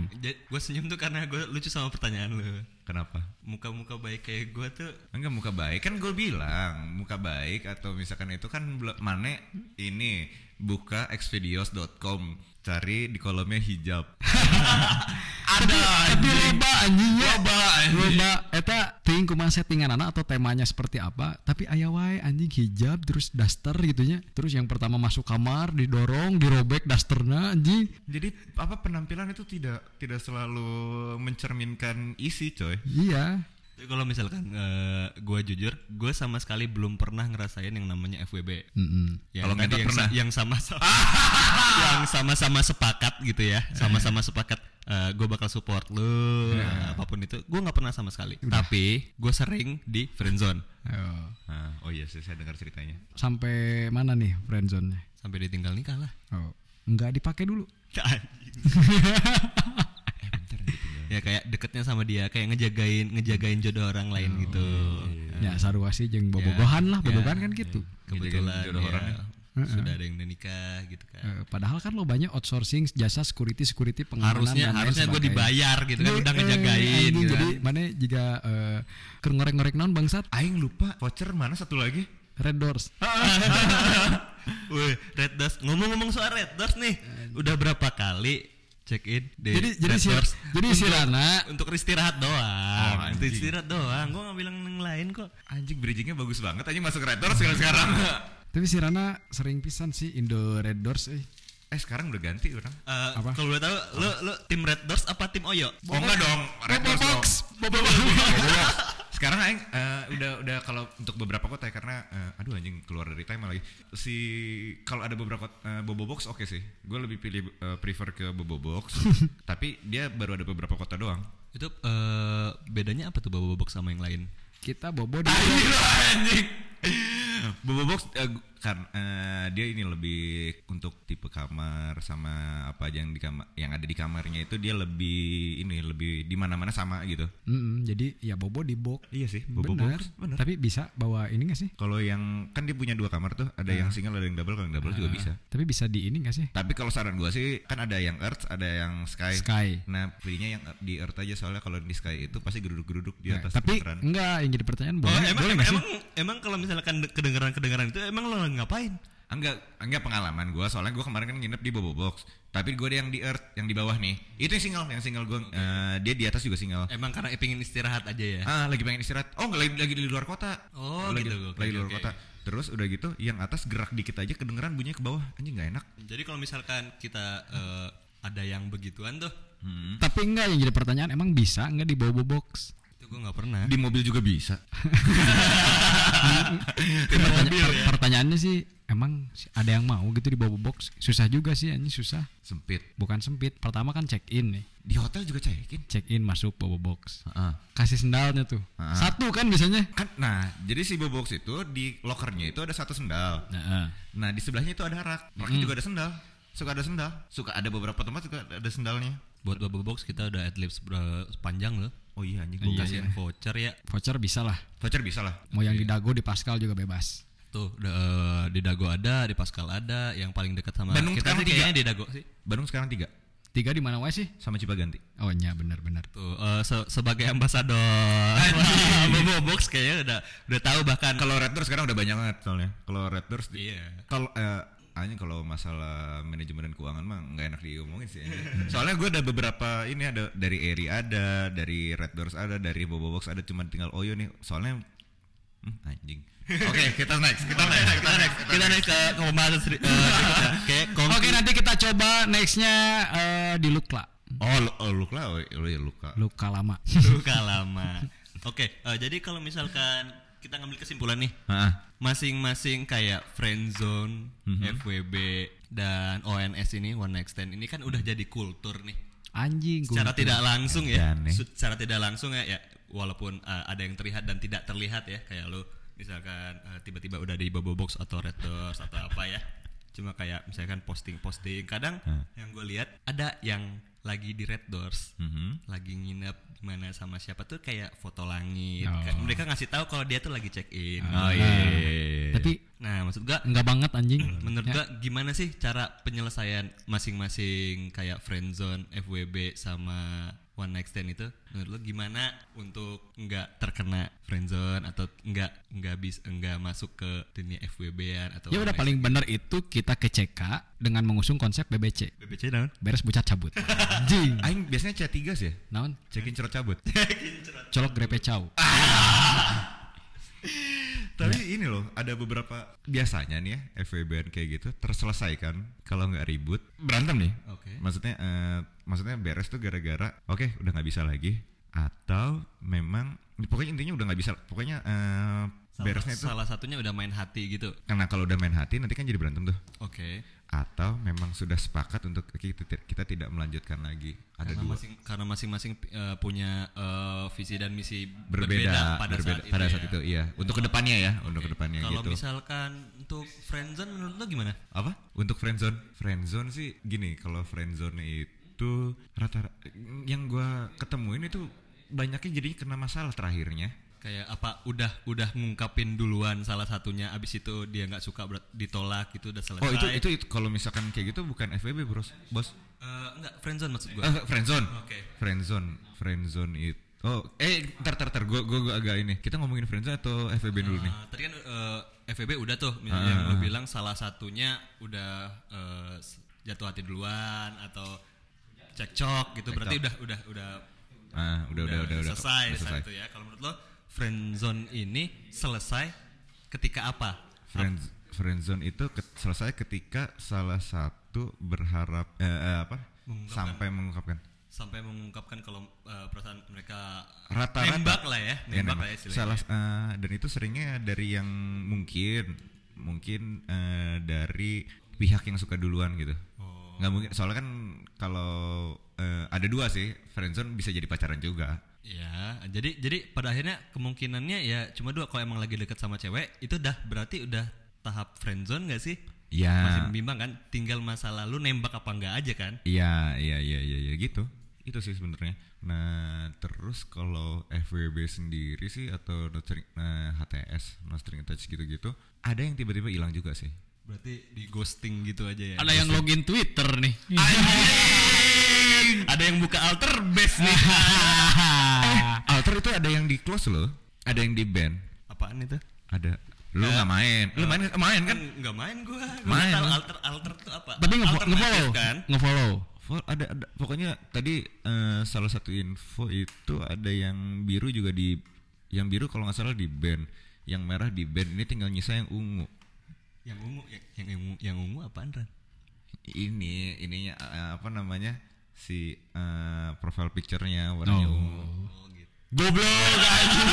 Gue senyum tuh karena gue lucu sama pertanyaan lu.
Kenapa?
Muka-muka baik kayak gue tuh
Enggak muka baik kan gue bilang muka baik atau misalkan itu kan bel- mana ini buka xvideos.com cari di kolomnya hijab. Ada
Tapi loba anjingnya.
Loba, anjing.
Loba. Eta ting kumaha settingan anak atau temanya seperti apa. Tapi aya wae anjing hijab terus daster gitunya. Terus yang pertama masuk kamar didorong dirobek dasternya anjing.
Jadi apa penampilan itu tidak tidak selalu mencerminkan isi, coy.
Iya.
Tapi Kalau misalkan gue jujur, gue sama sekali belum pernah ngerasain yang namanya FWB.
Mm-mm.
Ya, Yang
Kalau
tadi
ngentot
yang, sa-
pernah?
yang sama-sama yang sama-sama sepakat gitu ya, sama-sama sepakat gue bakal support lu nah, apapun itu. Gue nggak pernah sama sekali. Tapi gue sering di friendzone
Ayo.
Ah, oh iya, sih, saya dengar ceritanya.
Sampai mana nih friendzone-nya?
sampai ditinggal nikah lah.
Oh. Enggak dipakai dulu.
ya kayak deketnya sama dia, kayak ngejagain ngejagain jodoh orang lain
Oh,
gitu.
iya,
Ya sarua sih jeung bobogohan lah, bobogohan kan gitu.
Kebetulan
Ngejagain jodoh
iya.
ya,
orang ya.
sudah ada yang udah nikah gitu kan
Eh, padahal kan lo banyak outsourcing jasa security security pengamanan
harusnya
dan lain
harusnya gue
sebagainya.
dibayar gitu kan
Jadi,
udah
eh,
ngejagain
anjing,
gitu
jadi
kan.
mana jika eh, keur ngorek-ngorek naon bangsat
Aing lupa voucher mana satu lagi?
Red Doors
Wih, Red Doors. Ngomong-ngomong soal Red Doors nih, udah berapa kali check in di
jadi jadi
Red
si,
Doors?
jadi si Rana
untuk istirahat doang.
Oh,
untuk
anjing.
istirahat doang. Gua nggak bilang yang lain kok.
Anjing bridgingnya bagus banget anjing masuk red doors sekarang sekarang.
tapi si Rana sering pisan sih Indo Red Doors eh.
eh sekarang udah ganti orang.
Eh,
Apa?
kalau boleh tahu, lu lu tim Red Doors apa tim Oyo?
Oh enggak dong, red doors dong. Bobotox. Sekarang aing eh, udah udah kalau untuk beberapa kota ya, karena eh, aduh anjing keluar dari time lagi. Si kalau ada beberapa eh, Bobo Box oke sih. Gue lebih pilih eh, prefer ke Bobo Box. Tapi dia baru ada beberapa kota doang.
Itu eh, bedanya apa tuh Bobo Box sama yang lain?
kita bobo di
Anjing lo, anjing. Bobo Box eh, gu- kan eh, dia ini lebih untuk tipe kamar sama apa aja yang di kamar yang ada di kamarnya itu dia lebih ini lebih di mana-mana sama gitu.
Mm-mm, jadi ya bobo di box
Iya sih, Bobo
bener,
Box. Bener.
tapi bisa bawa ini gak sih
Kalau yang kan dia punya dua kamar tuh, ada yang single ada yang double, kalau yang double juga bisa.
tapi bisa di ini gak sih
Tapi kalau saran gua sih kan ada yang earth, ada yang sky.
Sky
Nah, pilihnya yang di earth aja soalnya kalau di sky itu pasti geruduk-geruduk di
Nah,
atas
tapi
putaran.
enggak yang jadi pertanyaan
Oh,
boleh
emang
Eh, boleh
emang,
gak sih
emang, emang kalau misalkan kedengeran-kedengeran itu emang lo ngapain?
Enggak, enggak pengalaman gua soalnya gua kemarin kan nginep di Bobo Box. Tapi gua ada yang di earth, yang di bawah nih. Itu yang single, yang single gua eh, dia di atas juga single.
Emang karena pingin istirahat aja ya.
Ah, lagi pengen istirahat. Oh, enggak lagi, lagi di luar kota.
Oh,
lagi,
gitu. Oke,
lagi di
oke,
luar
oke.
kota. Terus udah gitu, yang atas gerak dikit aja kedengeran bunyinya ke bawah. Anjing nggak enak.
Jadi kalau misalkan kita eh, ada yang begituan tuh,
Hmm.
tapi enggak yang jadi pertanyaan emang bisa enggak di bobo box
itu gue nggak pernah.
Di mobil juga bisa.
Pertanya-
ya.
per- pertanyaannya sih emang si- ada yang mau gitu di bobo box susah juga sih ini susah
Sempit.
bukan sempit pertama kan check in nih
Di hotel juga cekin.
check in masuk bobo box
Heeh.
kasih sendalnya tuh
Ah.
satu kan biasanya
Kan nah, jadi si box itu di lokernya itu ada satu sendal. Nah, di sebelahnya itu ada rak. Raknya juga ada sendal. Suka ada sendal. Suka ada beberapa tempat juga ada sendalnya.
Buat Bubble Box kita udah at least ber- panjang loh.
Oh iya anjing
Gue
gua
kasihin voucher ya.
voucher bisa lah
Voucher bisa lah.
mau
Iya.
yang di dago di pascal juga bebas
Tuh udah, eh, di Dago ada, di Pascal ada, yang paling dekat sama
Bandung
kita
sekarang
sih
tiga.
kayaknya di Dago sih.
Bandung sekarang tiga
tiga di mana wae sih
sama Cipaganti.
oh iya benar benar
Tuh eh, se- sebagai ambasador Bubble Box kayaknya udah udah tahu bahkan
Kalau Red Doors sekarang udah banyak banget soalnya. Kalau Red Doors di-
Iya.
kalau eh, anjing kalau masalah manajemen dan keuangan mah nggak enak diomongin sih. anjing. Soalnya gue ada beberapa ini ada dari Eri ada, dari Red Doors ada, dari Bobo Box ada, cuman tinggal Oyo nih. Soalnya hmm, anjing. Oke, kita next, kita next, kita next.
kita naik ke ke pembahasan seri- eh, berikutnya. kayak
oke
kongsi.
nanti kita coba nextnya eh, di lukla
Oh, lu, oh Luka lah, oh, iya, Luka.
luka lama
Suka lama. Oke, eh, jadi kalau misalkan kita ngambil kesimpulan nih,
Ah,
masing-masing kayak friendzone, FWB dan ONS ini one night stand ini kan udah jadi kultur nih.
anjing gua
Secara tidak langsung ya,
Edan nih.
se- secara tidak langsung ya, ya walaupun uh, ada yang terlihat dan tidak terlihat ya, kayak lu misalkan uh, tiba-tiba udah di Bobo Box atau Red Doors atau apa ya. Cuma kayak misalkan posting-posting, kadang yang gue lihat ada yang lagi di Red Doors
mhm.
lagi nginep di mana sama siapa tuh kayak foto langit.
Oh.
Kayak mereka ngasih tahu kalau dia tuh lagi check in.
Oh iya.
tapi
Nah, maksud gua
enggak banget anjing
menurut
Ya.
gua gimana sih cara penyelesaian masing-masing kayak friendzone, FWB sama one night stand itu menurut lu gimana untuk nggak terkena friendzone atau nggak nggak bis nggak masuk ke dunia FWB-an atau
Ya udah
one night
paling bener itu kita ke CK dengan mengusung konsep BBC.
stand? BBC naon?
Beres bocah cabut. Anjing.
Aing biasanya C3 sih ya.
Naon?
Cekin cerot cabut.
Colok grepe cau.
Tapi ini loh, ada beberapa biasanya nih ya FWB kayak gitu terselesaikan kalau nggak ribut berantem nih.
Oke.
Maksudnya eh, maksudnya beres tuh gara-gara oke udah nggak bisa lagi atau memang pokoknya intinya udah nggak bisa pokoknya eh,
Salah-
beresnya itu
salah satunya udah main hati gitu.
karena kalau udah main hati nanti kan jadi berantem tuh
Oke.
atau memang sudah sepakat untuk kita, kita tidak melanjutkan lagi ada
karena
dua
masing karena masing-masing eh, punya eh, visi dan misi
berbeda,
pada
berbeda-
saat itu.
pada
ya.
saat itu iya untuk kedepannya ya untuk kedepannya
Kalau
gitu
misalkan untuk friendzone menurut lo gimana?
apa untuk friendzone friendzone sih gini kalau friendzone itu rata yang gua ketemuin itu banyaknya jadi kena masalah terakhirnya
kayak apa udah udah ngungkapin duluan salah satunya abis itu dia nggak suka berat- ditolak itu udah selesai
Oh itu itu, itu kalau misalkan kayak gitu bukan FBB bros, bos.
Eh, enggak friendzone maksud gue
Eh, friendzone.
Oke.
Friendzone, friendzone itu. Oh, eh, ntar, ntar, ntar, gue, gue agak ini. Kita ngomongin friendzone atau FBB dulu nih?
Nah, tadi kan eh, FVB udah tuh misalnya
Ah.
yang lu bilang salah satunya udah eh, s- jatuh hati duluan atau cekcok gitu berarti udah udah udah
Ah, udah, udah, udah, udah,
selesai
udah
saat itu ya kalau menurut lo friendzone ini selesai ketika apa
Friends, friendzone itu ke- selesai ketika salah satu berharap eh, eh, apa
Mengungkapkan.
sampai mengungkapkan
sampai mengungkapkan kalau eh, perasaan mereka
rata-rata
nembak lah ya
Ya,
nembak
nembak.
lah ya istilahnya.
salah eh, dan itu seringnya dari yang mungkin mungkin eh, dari pihak yang suka duluan gitu
Oh.
nggak mungkin soalnya kan kalau eh, ada dua sih friendzone bisa jadi pacaran juga
Ya, jadi jadi pada akhirnya kemungkinannya ya cuma dua kalau emang lagi deket sama cewek itu dah berarti udah tahap friendzone gak sih? Masih
ya
membimbang kan? Tinggal masa lalu nembak apa enggak aja kan?
Iya, iya, iya, iya, iya gitu. Itu sih sebenarnya. Nah, terus kalau FWB sendiri sih atau not string- nah, HTS, not string attached gitu-gitu, ada yang tiba-tiba hilang juga sih.
Berarti di ghosting gitu aja ya.
Ada yang login Twitter nih.
ada yang buka alter base nih. Ah.
Alter itu ada yang di close loh, ada yang di band,
Apaan itu?
ada. Lu nggak main, lu main main kan?
Kan nggak main gua. gua
Main,
nggak tahu
kan?
alter alter tuh apa?
Tapi nge-
Alternatif
ngefollow,
kan?
ngefollow.
Vol- Ada, ada pokoknya tadi eh, salah satu info itu ada yang biru juga di yang biru kalau nggak salah di band, yang merah di band ini tinggal nyisa yang ungu.
Yang ungu yang yang ungu, yang ungu apaan Ran?
ini ininya eh, apa namanya si eh, profile picture-nya warnanya ungu.
Oh gitu.
Goblok anjing.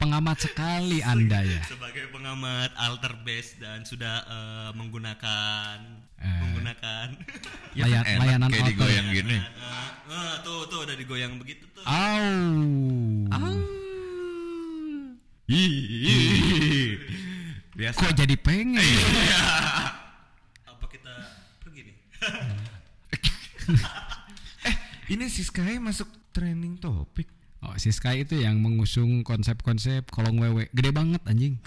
Pengamat sekali Anda ya.
sebagai pengamat alter base dan sudah eh, menggunakan
Eh.
menggunakan
Ya
Layan-
kan enak,
layanan
kayak
auto.
digoyang gini.
Eh, eh, tuh tuh udah digoyang begitu tuh
Au.
Ih. Biasa.
Kok jadi pengen? ya?
apa kita pergi nih
Ini si Sky masuk trending topik.
Oh, si Sky itu yang mengusung konsep-konsep kolong wewe. Gede banget anjing.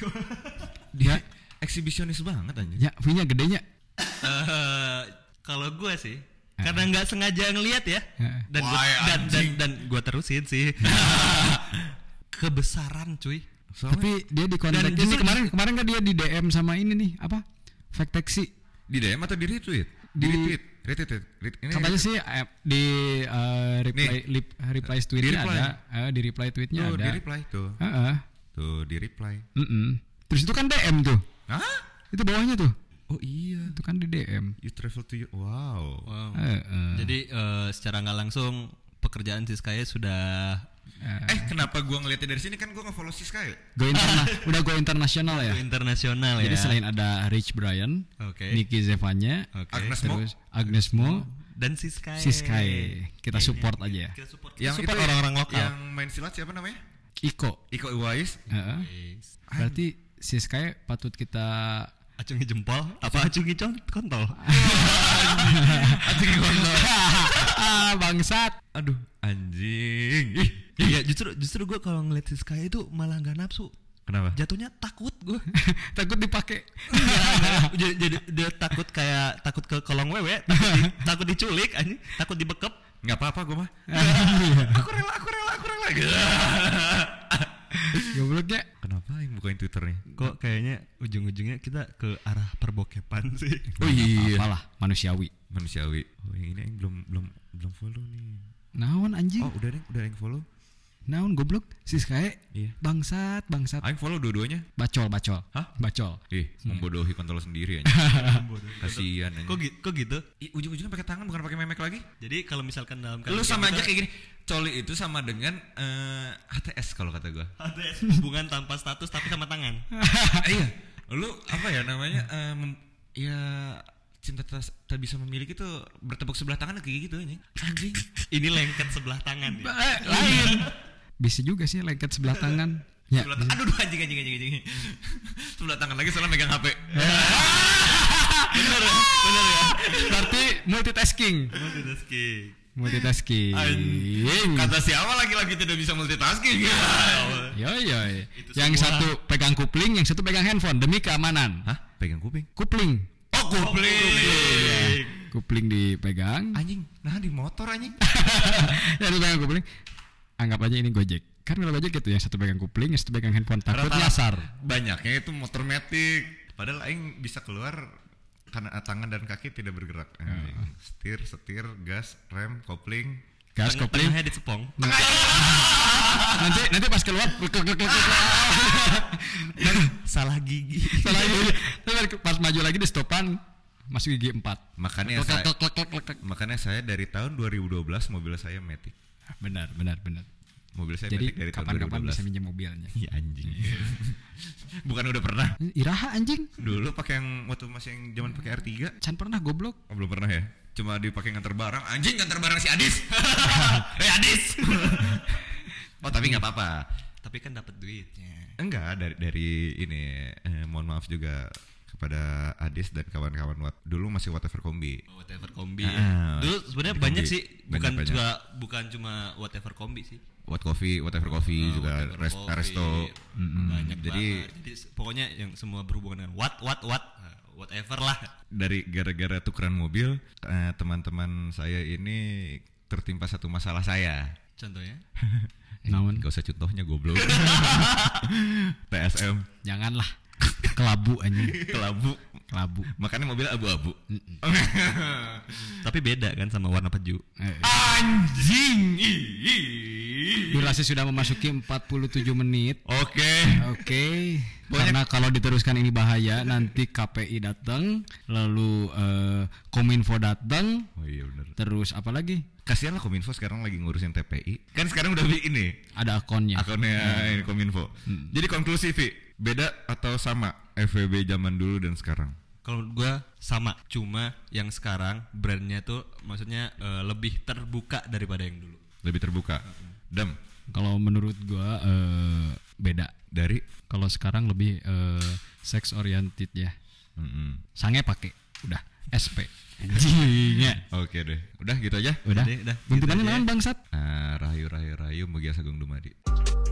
Dia eksibisionis banget anjir.
Ya, V-nya gedenya.
Eh, kalau gue sih karena nggak sengaja ngelihat ya
Eh.
dan gua, dan, dan dan gua terusin sih
Eh.
kebesaran cuy
Soalnya
Tapi dia di kontak
Dan
ini
justru-
kemarin kemarin kan dia di DM sama ini nih, apa? Fake taxi.
di DM atau di retweet? Di,
Di-
retweet. Retweet. retweet. Ini
Katanya sih eh, di eh, reply
Iya. Nih.
lip, reply tweetnya
reply.
ada, eh, di reply tweetnya
tuh
ada.
di reply tuh.
Heeh.
Tuh di reply.
Mm-mm. Terus itu kan DM tuh.
Hah?
Itu bawahnya tuh.
Oh iya.
Itu kan di DM.
You travel to you. Wow.
Wow.
Heeh.
jadi eh, secara nggak langsung pekerjaan si Sky sudah
Eh kenapa gua ngeliatnya dari sini kan gua nge-follow si Sky.
Go interna- udah go internasional ya.
internasional
Jadi
ya
selain ada Rich Brian,
Oke.
Nicky Zevanya,
Oke.
Agnes Mo.
terus Agnes Mo,
dan si Sky.
si Sky. Kita
Kayaknya
support aja.
Kita support. Kita
Yang
support Iya.
itu ya,
orang-orang lokal.
Yang main silat siapa namanya?
Iko.
Iko Uwais.
Heeh. Berarti si Sky patut kita
Acungi jempol apa acungi con- kontol?
Anjing
Ah, bangsat.
Aduh, anjing. Ih,
Iya, justru justru gue kalau ngeliat si Sky itu malah nggak nafsu.
kenapa?
Jatuhnya takut gue.
Takut dipakai.
jadi, jadi dia takut kayak takut ke kolong wewe, takut, di- takut diculik anjing, takut dibekep.
Enggak apa-apa gua mah. Ah, aku rela, aku rela, aku rela.
Gobloknya.
kenapa yang bukain Twitternya?
Kok kayaknya ujung-ujungnya kita ke arah perbokepan sih.
Oh iya.
Apalah, manusiawi.
Manusiawi. Oh, yang ini yang belum belum belum follow nih.
Naon anjing?
Oh, udah deh, udah yang follow.
Naon goblok? Si Sky
Iya.
bangsat, bangsat.
Aing follow dua-duanya.
Bacol, bacol.
Hah?
Bacol.
Ih, membodohi kontrol sendiri anjing. Kasihan
kok,
anjing.
gi- kok gitu?
Ih, ujung-ujungnya pakai tangan bukan pakai memek lagi.
Jadi kalau misalkan dalam
Lu sama aja
kita-
kayak gitu. gini. Coli itu sama dengan eh, HTS kalau kata gua.
ada hubungan tanpa status tapi sama tangan.
Ah, iya lu apa ya namanya eh, mem- ya cinta tak, tak bisa memiliki tuh bertepuk sebelah tangan kayak gitu anjing anjing
Ini lengket sebelah tangan ya.
Eh, lain. Bisa juga sih lengket sebelah tangan. Ya.
sebelah tangan aduh aduh, anjing anjing anjing anjing sebelah tangan lagi salah megang hp
Bener ya? Bener ya?
Berarti multitasking.
Multitasking.
multitasking.
Kata siapa laki-laki tidak bisa multitasking?
Yoi yoi. Yang satu pegang kupling, yang satu pegang handphone demi keamanan.
Hah? Pegang kuping?
Kupling.
Oh
Ya.
kuping.
Kupling dipegang.
Anjing, nah di motor anjing.
Yang satu pegang kupling. Anggap aja ini Gojek. Kan kalau Gojek gitu yang satu pegang kupling, yang satu pegang handphone takut
Rata-
nyasar.
Banyaknya itu motor metik. Padahal aing bisa keluar karena tangan dan kaki tidak bergerak. Anjing. Setir, setir, gas, rem, kopling.
Gas kopling.
Tengahnya dicepong.
Nanti nanti pas keluar klik, klik, klik, klik, klik.
Salah gigi.
Salah ini. Nanti pas maju lagi di stopan masuk gigi 4.
Makanya saya makanya saya dari tahun 2012 mobil saya metik.
Benar, benar, benar.
Mobil saya metik
Jadi
dari tahun
kapan-kapan bisa
2012.
minjem mobilnya.
Iya anjing. Bukan udah pernah.
Iraha anjing.
Dulu pakai yang waktu masih yang zaman pakai R3.
Can pernah goblok.
Oh, belum pernah ya? Cuma dipakai nganter barang. Anjing nganter barang si Adis. Hei Eh, Adis. oh, tapi nggak apa-apa.
Tapi kan dapat duitnya.
Enggak dari dari ini eh, mohon maaf juga kepada Adis dan kawan-kawan Wat- dulu masih whatever kombi.
Whatever kombi.
Ah,
Dulu sebenarnya
kombi.
banyak sih, bukan
Banyak-banyak.
juga bukan cuma whatever kombi sih.
What coffee, whatever coffee Iya juga
Ah, Whatever
rest,
kombi.
resto. Mm-mm.
Banyak
Jadi
banget. Jadi se- pokoknya yang semua berhubungan dengan what what what Nah, whatever lah.
dari gara-gara tukeran mobil eh, teman-teman saya ini tertimpa satu masalah saya.
Contohnya
Naon?
Gak usah contohnya goblok. TSM
Janganlah. Kelabu anjing.
kelabu.
Kelabu.
Makanya mobil abu-abu.
tapi beda kan sama warna peju.
Eh,
Anjing. Ih.
Durasi sudah memasuki 47 menit.
Oke.
Oke. Karena kalau diteruskan ini bahaya, nanti KPI datang, lalu eh, Kominfo datang,
Oh iya benar.
terus apa lagi?
Kasihan lah Kominfo sekarang lagi ngurusin TPI. Kan sekarang udah bi- ini
Ada akunnya.
akunnya ini Kominfo. Jadi konklusi Vi, beda atau sama FWB zaman dulu dan sekarang?
Kalau menurut gua sama, cuma yang sekarang brandnya tuh maksudnya eh, lebih terbuka daripada yang dulu.
Lebih terbuka. Dam
Kalau menurut gua eh, beda.
dari
Kalau sekarang lebih eh, sex oriented ya.
Mm-mm.
Sange pakai, udah SP. Anjingnya.
Oke deh. Udah gitu aja.
Udah.
Udah, udah.
Buntutannya naon bangsat?
Ah, rahayu rahayu rahayu mugia sagung dumadi.